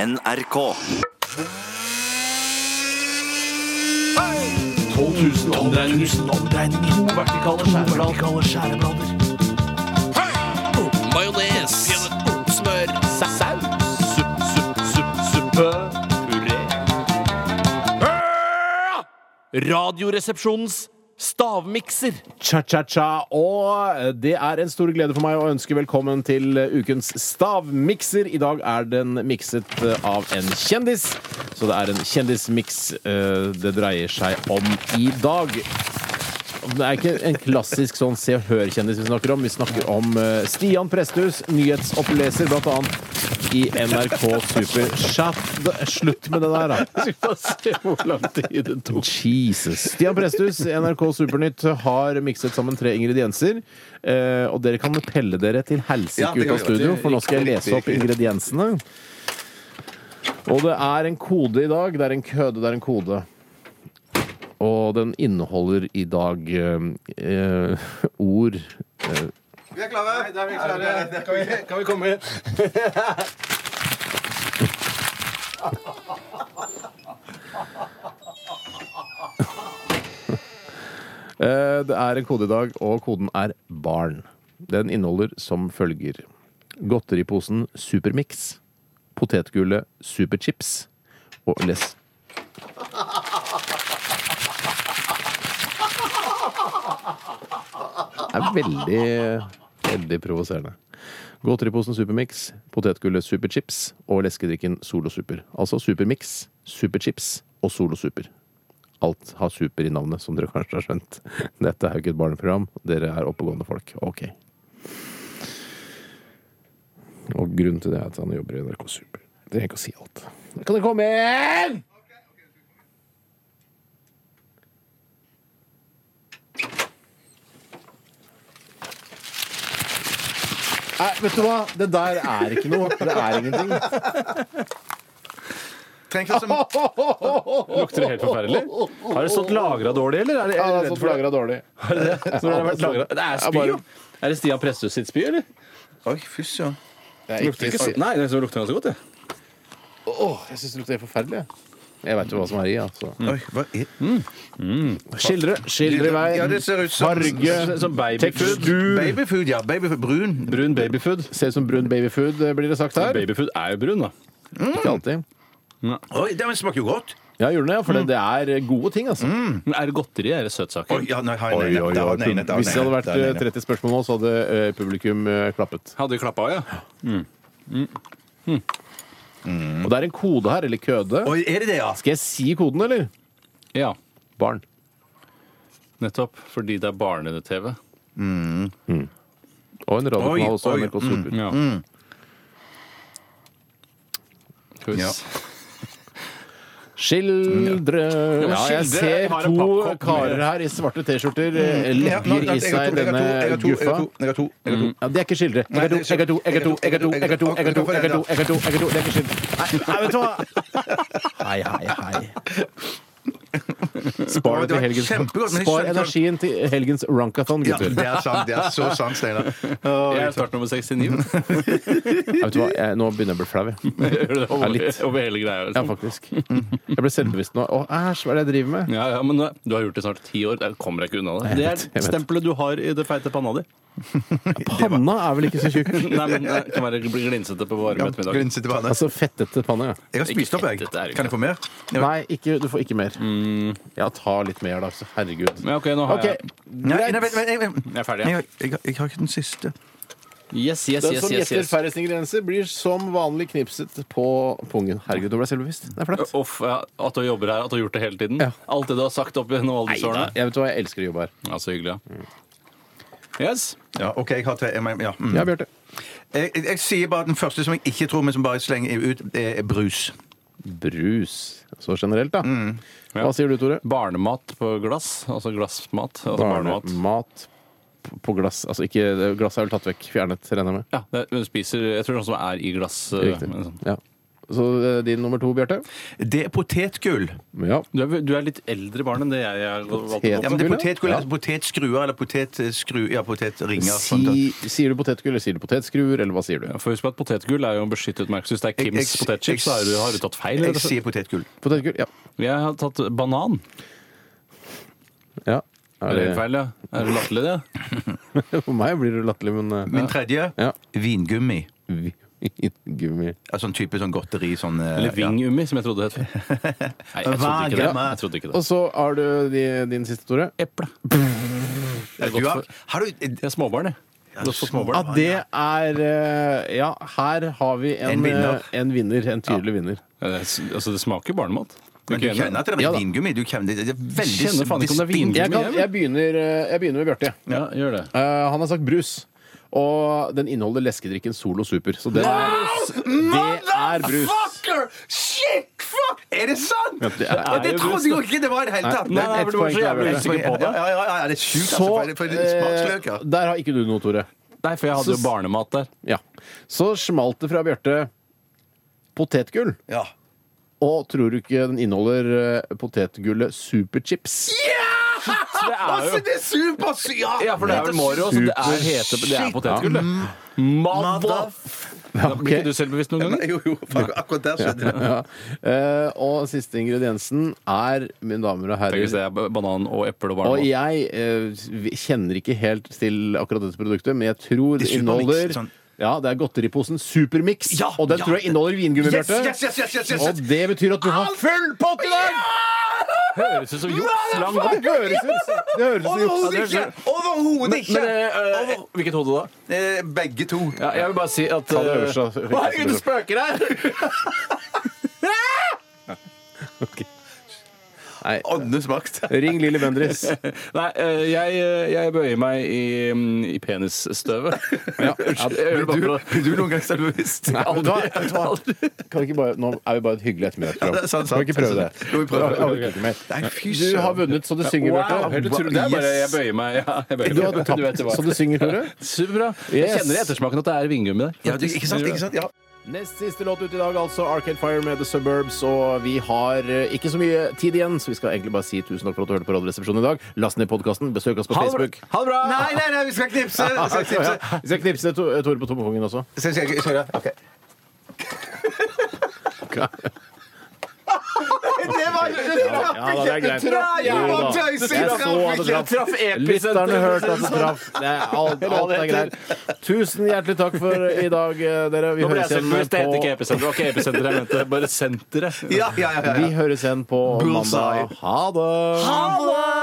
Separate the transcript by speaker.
Speaker 1: NRK.
Speaker 2: 12 000 omdreininger. To vertikale skjæreblader. Majones. Smør. Saus. Supp, supp, supp, suppe. Puré. Ah! Radioresepsjonens stavmikser.
Speaker 3: Cha-cha-cha. Og eh, det er en stor glede for meg å ønske velkommen til eh, ukens stavmikser. I dag er den mikset eh, av en kjendis, så det er en kjendismiks eh, det dreier seg om i dag. Det er ikke en klassisk sånn Se og Hør-kjendis vi snakker om. Vi snakker om eh, Stian Presthus, nyhetsoppleser, blant annet i NRK Super. Chat. Slutt med det der, da. Jesus. Stian Presthus, NRK Supernytt, har mikset sammen tre ingredienser. Eh, og dere kan pelle dere til helsike
Speaker 4: Ja, det
Speaker 3: ut av
Speaker 4: kan vi gjøre.
Speaker 3: studio, for nå skal jeg lese opp ingrediensene. Og det er en kode i dag. Det er en køde, det er en kode. Og den inneholder i dag eh, eh, ord eh,
Speaker 4: Vi er klare. Nei, da er vi klare. Kan vi, kan vi komme inn?
Speaker 3: Eh, Det er en kode i dag, og koden er barn. Den inneholder som følger. Godteriposen Supermix. Potetgullet Superchips. Og les... Det er veldig, veldig provoserende. Godteriposen Supermix, potetgullet Superchips og leskedrikken Solo Super. Altså Supermix, Superchips og Solo Super. Alt har super i navnet, som dere kanskje har skjønt. Dette er jo ikke et barneprogram. Dere er oppegående folk. Ok. Og grunnen til det er at han jobber i NRK Super. Det trenger ikke å si alt. Kan dere komme inn?! Nei, vet du hva? Det der er ikke noe. Det er ingenting.
Speaker 4: Trenger ikke så
Speaker 2: Lukter det helt forferdelig? Har det stått lagra dårlig, eller? Er det,
Speaker 3: Ja, det er
Speaker 2: er det,
Speaker 3: sånn flagra dårlig.
Speaker 2: Når det, har vært lagret- det er spy,
Speaker 3: Ja,
Speaker 2: jo. Er det Stian Presthus sitt spy, eller?
Speaker 4: Oi, fysj, ja.
Speaker 3: Det er ikke,
Speaker 2: Nei, det lukter ganske godt, det.
Speaker 3: Åh, jeg syns det lukter helt forferdelig. jeg. Jeg veit jo hva som er i. altså.
Speaker 4: Oi, hva er
Speaker 3: Skildre skildre i vei.
Speaker 4: Ja, det ser ut som
Speaker 3: Farge.
Speaker 2: Som babyfood.
Speaker 3: Tekstur.
Speaker 4: Babyfood, ja. Babyfood. Brun.
Speaker 2: Brun babyfood.
Speaker 3: Ser ut som brun babyfood, eh, blir det sagt her.
Speaker 2: Babyfood er jo brun, da.
Speaker 3: Ikke alltid. Mm.
Speaker 4: Oi, det men smaker jo godt.
Speaker 3: Ja, gjør den det? For det- det er gode ting, altså.
Speaker 4: Mm.
Speaker 2: Men er det godteri? Er det søtsaker?
Speaker 4: Oi, ja, nei, nei,
Speaker 3: Oi,
Speaker 4: nei,
Speaker 3: oi,
Speaker 4: nei,
Speaker 3: oi.
Speaker 4: nei, nei, nei, nei,
Speaker 3: Hvis det hadde
Speaker 4: nei,
Speaker 3: vært
Speaker 4: nei, nei,
Speaker 3: eh,
Speaker 4: nei.
Speaker 3: 30 spørsmål nå, så hadde eh, publikum eh, klappet.
Speaker 2: Hadde de klappa av, ja?
Speaker 3: Og det er en kode her, eller køde.
Speaker 4: Mm. Oi, er det det, ja?
Speaker 3: Skal jeg si koden, eller?
Speaker 2: Ja.
Speaker 3: Barn.
Speaker 2: Nettopp. Fordi det er barne-TV.
Speaker 3: Og en radiokanal
Speaker 4: Oi, Mm.
Speaker 3: også.
Speaker 4: oi,
Speaker 3: NRK Super.
Speaker 2: Ja. Hus.
Speaker 4: Ja.
Speaker 3: Skildre
Speaker 2: men
Speaker 3: Ja, jeg
Speaker 2: skildre-
Speaker 3: ser
Speaker 2: jeg har en
Speaker 3: to
Speaker 2: pappkopp
Speaker 3: karer her i svarte T-skjorter eh,
Speaker 4: Mm. Ja, nå,
Speaker 3: legger i
Speaker 4: jeg har
Speaker 3: seg
Speaker 4: to, jeg har to, jeg
Speaker 3: denne
Speaker 4: har to, jeg har
Speaker 3: guffa. Mm.
Speaker 4: to, jeg har to, jeg har to.
Speaker 3: Ja, det er ikke skildre. Jeg er to, jeg er to, jeg er to, jeg er to, jeg er to, jeg er to, jeg er to, jeg er to, jeg er to, Det er ikke skildre. Nei, nei, vet du hva? Hei, hei, hei. Spar, det til
Speaker 4: Det var
Speaker 3: helgens,
Speaker 4: kjempegodt, men jeg
Speaker 3: spar
Speaker 4: skjønte-
Speaker 3: energien til helgens runkathon,
Speaker 4: Ja,
Speaker 3: gutter.
Speaker 4: det er sant. Det er så sant, Steinar.
Speaker 2: Jeg er start nummer 69.
Speaker 3: Nei, vet du hva? Jeg, nå begynner jeg å bli flau. jeg.
Speaker 2: Gjør det
Speaker 3: Ja,
Speaker 2: over,
Speaker 3: litt.
Speaker 2: over hele greia.
Speaker 3: Ja,
Speaker 2: Liksom.
Speaker 3: faktisk. Jeg ble selvbevisst nå. Å, æsj, hva er det jeg driver med?
Speaker 2: Ja, ja, men du har gjort det snart ti år. Jeg kommer deg ikke unna det. Det
Speaker 3: vet, jeg
Speaker 2: er
Speaker 3: vet.
Speaker 2: stempelet du har i det feite panna di.
Speaker 3: Panna er vel ikke så tjukk?
Speaker 2: Nei, men det kan være bli glinsete på varm
Speaker 4: Ja,
Speaker 2: ettermiddag.
Speaker 4: Glinsete vann.
Speaker 3: Altså fettete panne, ja.
Speaker 4: Jeg har spist opp, jeg.
Speaker 2: Ikke ett, dette er ikke-
Speaker 4: Kan jeg få mer? Ja.
Speaker 3: Nei, ikke, du får ikke mer. Ja, ta litt mer, da. så Herregud.
Speaker 2: Ja, ok, nå har
Speaker 3: OK,
Speaker 2: jeg
Speaker 4: Nei,
Speaker 3: greit.
Speaker 4: nei, vent, vent, vent, vent.
Speaker 2: Jeg er ferdig.
Speaker 4: Jeg
Speaker 2: Ja.
Speaker 4: har- jeg har- jeg har ikke den siste.
Speaker 2: Yes, yes,
Speaker 3: Den
Speaker 2: yes,
Speaker 3: som
Speaker 2: yes,
Speaker 3: gjetter
Speaker 2: yes.
Speaker 3: færrest sånn ingredienser, blir som vanlig knipset på pungen. Herregud, nå ble jeg selvbevisst. Det er flaut.
Speaker 2: Uff, ja, at du jobber her, at du har gjort det hele tiden.
Speaker 3: Ja.
Speaker 2: Alt det du har sagt opp gjennom alle disse årene.
Speaker 3: Jeg vet hva, jeg elsker å jobbe her.
Speaker 2: Ja, så hyggelig, ja. Yes.
Speaker 4: Ja, OK, jeg har tre. Jeg, mener- ja. mm.
Speaker 3: Ja, Bjarte.
Speaker 4: jeg, jeg, jeg sier bare den første som jeg ikke tror, men som bare slenger ut, det er brus.
Speaker 3: Brus. Så generelt, da.
Speaker 2: Mm. Ja.
Speaker 3: Hva sier du, Tore?
Speaker 2: Barnemat på glass. Altså glassmat. Altså barnemat.
Speaker 3: Barnemat p- på glass. Altså ikke Glasset er vel tatt vekk. Fjernet, regner jeg med.
Speaker 2: Ja, det, er- men du spiser Jeg tror sånn som er i glass. eh,
Speaker 3: Riktig.
Speaker 2: men sånn.
Speaker 3: Ja. Så eh, din nummer to, Bjarte?
Speaker 4: Det er potetgull.
Speaker 3: Ja.
Speaker 2: Du er, du er litt eldre barn enn det jeg er.
Speaker 3: Potet-
Speaker 4: Ja, men det er
Speaker 3: Potetgull, ja.
Speaker 4: potetgull,
Speaker 3: Ja.
Speaker 4: altså potetskruer eller potetskru... Ja, potetringer. sånn da.
Speaker 3: Si, sier du potetgull, eller sier du potetskruer, eller hva sier du?
Speaker 2: Ja, for husk på at Potetgull er jo en beskyttet merke. Så hvis det er Kims
Speaker 4: Jeg- jeg-
Speaker 2: potetchips, så er du, har du tatt feil. rett
Speaker 4: Jeg
Speaker 2: og slett.
Speaker 4: sier potetgull.
Speaker 3: Potetgull? Ja.
Speaker 2: Jeg har tatt banan.
Speaker 3: ja.
Speaker 2: Er
Speaker 3: Er
Speaker 2: det helt feil, ja? Er det latterlig, det?
Speaker 3: det, for meg blir det latterlig, men eh,
Speaker 4: Min tredje
Speaker 3: Ja.
Speaker 4: vingummi.
Speaker 3: vi- Gummi.
Speaker 4: Altså en type sånn godteri. Sånn, eh,
Speaker 2: Eller
Speaker 4: ja.
Speaker 2: vingummi, som jeg trodde det het før. Nei, jeg trodde ikke det. Jeg trodde ikke det.
Speaker 3: Og så har du de, din siste, Tore.
Speaker 2: Eple.
Speaker 4: Ja, du har, har du eh,
Speaker 2: Jeg er småbarn, jeg. Godt
Speaker 3: Ja,
Speaker 2: for småbarn.
Speaker 3: det er eh, Ja, her har vi en,
Speaker 4: En vinner.
Speaker 3: eh, En, vinner, en tydelig vinner.
Speaker 2: Ja, det er- Altså, det smaker barnemat. Du
Speaker 4: Men
Speaker 2: er
Speaker 4: du
Speaker 2: ikke enig?
Speaker 4: kjenner at det
Speaker 3: Ja
Speaker 4: er
Speaker 3: da.
Speaker 4: vingummi? Du kjenner, det er veldig
Speaker 2: Kjenner faen ikke om det er
Speaker 4: distinkt.
Speaker 2: vingummi.
Speaker 3: Jeg, kan, jeg, begynner, eh, jeg begynner med Bjarte.
Speaker 2: Ja, gjør det.
Speaker 3: Eh, han har sagt brus. Og den inneholder leskedrikken Solo Super. Så den det er brus.
Speaker 4: Motherfucker! Shit, fuck! Er det sant?!
Speaker 3: Ja, det er-
Speaker 4: Og det
Speaker 2: er jo
Speaker 4: trodde
Speaker 2: brus,
Speaker 4: jeg ikke det var i det hele tatt!
Speaker 2: Nei, nei,
Speaker 3: ett
Speaker 2: men du var
Speaker 3: poeng
Speaker 2: så
Speaker 3: der,
Speaker 2: jævlig
Speaker 3: vel.
Speaker 2: usikker på det.
Speaker 4: Ja, ja, ja, det er sjukt, altså.
Speaker 3: Så
Speaker 4: For, for
Speaker 3: eh,
Speaker 4: smaksløker.
Speaker 3: Der har ikke du noe, Tore.
Speaker 2: Nei, for jeg hadde jo barnemat der.
Speaker 3: Ja. Så smalt det fra Bjarte potetgull.
Speaker 4: Ja.
Speaker 3: Og tror du ikke den inneholder eh, potetgullet Superchips?
Speaker 2: Det er
Speaker 4: Altså,
Speaker 2: jo
Speaker 4: det er supersykt! Ja,
Speaker 2: ja, for det er vel Mario, så det er, hete, det er
Speaker 4: mm.
Speaker 2: potetgull, det. Mother- Da Blir ikke du selvbevisst noen ganger?
Speaker 4: Jo, jo, fuck, akkurat der skjedde det.
Speaker 3: Ja. Eh, og siste ingrediensen er, mine damer og
Speaker 2: Tenk hvis
Speaker 3: herrer
Speaker 2: det er banan og eple og
Speaker 3: og
Speaker 2: barnemat.
Speaker 3: jeg eh, vi- kjenner ikke helt til akkurat dette produktet, men jeg tror det
Speaker 4: Det er
Speaker 3: inneholder
Speaker 4: Supermix, sånn.
Speaker 3: Ja, det er godteriposen Supermix,
Speaker 4: Ja,
Speaker 3: og den
Speaker 4: ja,
Speaker 3: tror jeg inneholder vingummi,
Speaker 4: Yes,
Speaker 3: Bjarte.
Speaker 4: yes, yes, yes, yes, yes.
Speaker 3: Og det betyr at du har full pott i dag!
Speaker 2: Høres ut som juks! Lang
Speaker 3: Ja, det høres ut det høres ut som juks.
Speaker 4: Overhodet ikke! Overhodet ikke!
Speaker 2: Men, eh, eh,
Speaker 4: Over-
Speaker 2: hvilket hode da?
Speaker 4: Eh, Begge to.
Speaker 2: Ja, jeg vil bare si at
Speaker 3: det øverste, da.
Speaker 2: eh, herregud, det spøker her!
Speaker 3: Nei,
Speaker 4: Åndenes makt.
Speaker 3: ring Lilly Bendriss.
Speaker 2: Nei, eh, jeg, eh, jeg bøyer meg i, mm, i penisstøvet.
Speaker 3: Ja.
Speaker 2: Unnskyld, jeg gjør det bare for å
Speaker 4: Blir du noen gang servist?
Speaker 3: Nei, vet du hva? Vet du hva? Kan vi ikke bare, nå er vi bare et hyggelig ettermiddagsprogram.
Speaker 4: Ja, det er sant,
Speaker 3: Kan vi ikke prøve det?
Speaker 4: sant. Jo, vi prøver det.
Speaker 3: Jeg orker ikke mer.
Speaker 4: Nei, fy
Speaker 3: Du har
Speaker 4: søren.
Speaker 3: vunnet så det synger,
Speaker 2: Wow,
Speaker 3: Bjarte.
Speaker 2: helt utrolig. Det er bare jeg bøyer meg. Ja, jeg bøyer
Speaker 3: Du
Speaker 2: meg.
Speaker 3: har
Speaker 2: Du vet
Speaker 3: tapt
Speaker 2: det var.
Speaker 3: så det synger, Tore.
Speaker 2: Superbra.
Speaker 3: Yes.
Speaker 2: Jeg kjenner i ettersmaken at det er vingummi der.
Speaker 4: Ja, du, ikke sant? Ikke sant? Ja.
Speaker 3: Nest siste låt ut i dag, altså Arcade Fire med The Suburbs. Og vi har eh, ikke så mye tid igjen, så vi skal egentlig bare si tusen takk for at du hørte på Radioresepsjonen i dag. Last ned podkasten, besøk oss på
Speaker 2: Ha det bra.
Speaker 3: Facebook.
Speaker 2: Ha det bra!
Speaker 4: Nei, nei, nei, vi skal knipse! Vi skal
Speaker 3: Ja,
Speaker 4: knipse.
Speaker 3: Vi skal knipse To- Tore på tommekongen også.
Speaker 4: Skal- skal- skal- ok. Det var
Speaker 3: Ja, da, det er greit.
Speaker 4: Nei, jeg
Speaker 3: Jo
Speaker 4: var
Speaker 3: da.
Speaker 4: tøysig,
Speaker 3: Jeg
Speaker 4: traff
Speaker 3: så at det
Speaker 4: ikke.
Speaker 3: traff. Lytterne hørte at det traff. Det er alt, alt er greit. Tusen hjertelig takk for i dag, eh, dere. Vi
Speaker 2: Nå ble
Speaker 3: høres
Speaker 2: jeg
Speaker 3: igjen
Speaker 2: selvbevisst. Det heter
Speaker 3: på
Speaker 2: ikke episenter. Det var ikke episenter jeg mente. Bare senteret.
Speaker 4: Ja, ja, ja. ja,
Speaker 3: vi
Speaker 4: ja.
Speaker 3: høres igjen på
Speaker 4: Bullseye.
Speaker 3: mandag. Ha det!
Speaker 4: Ha det!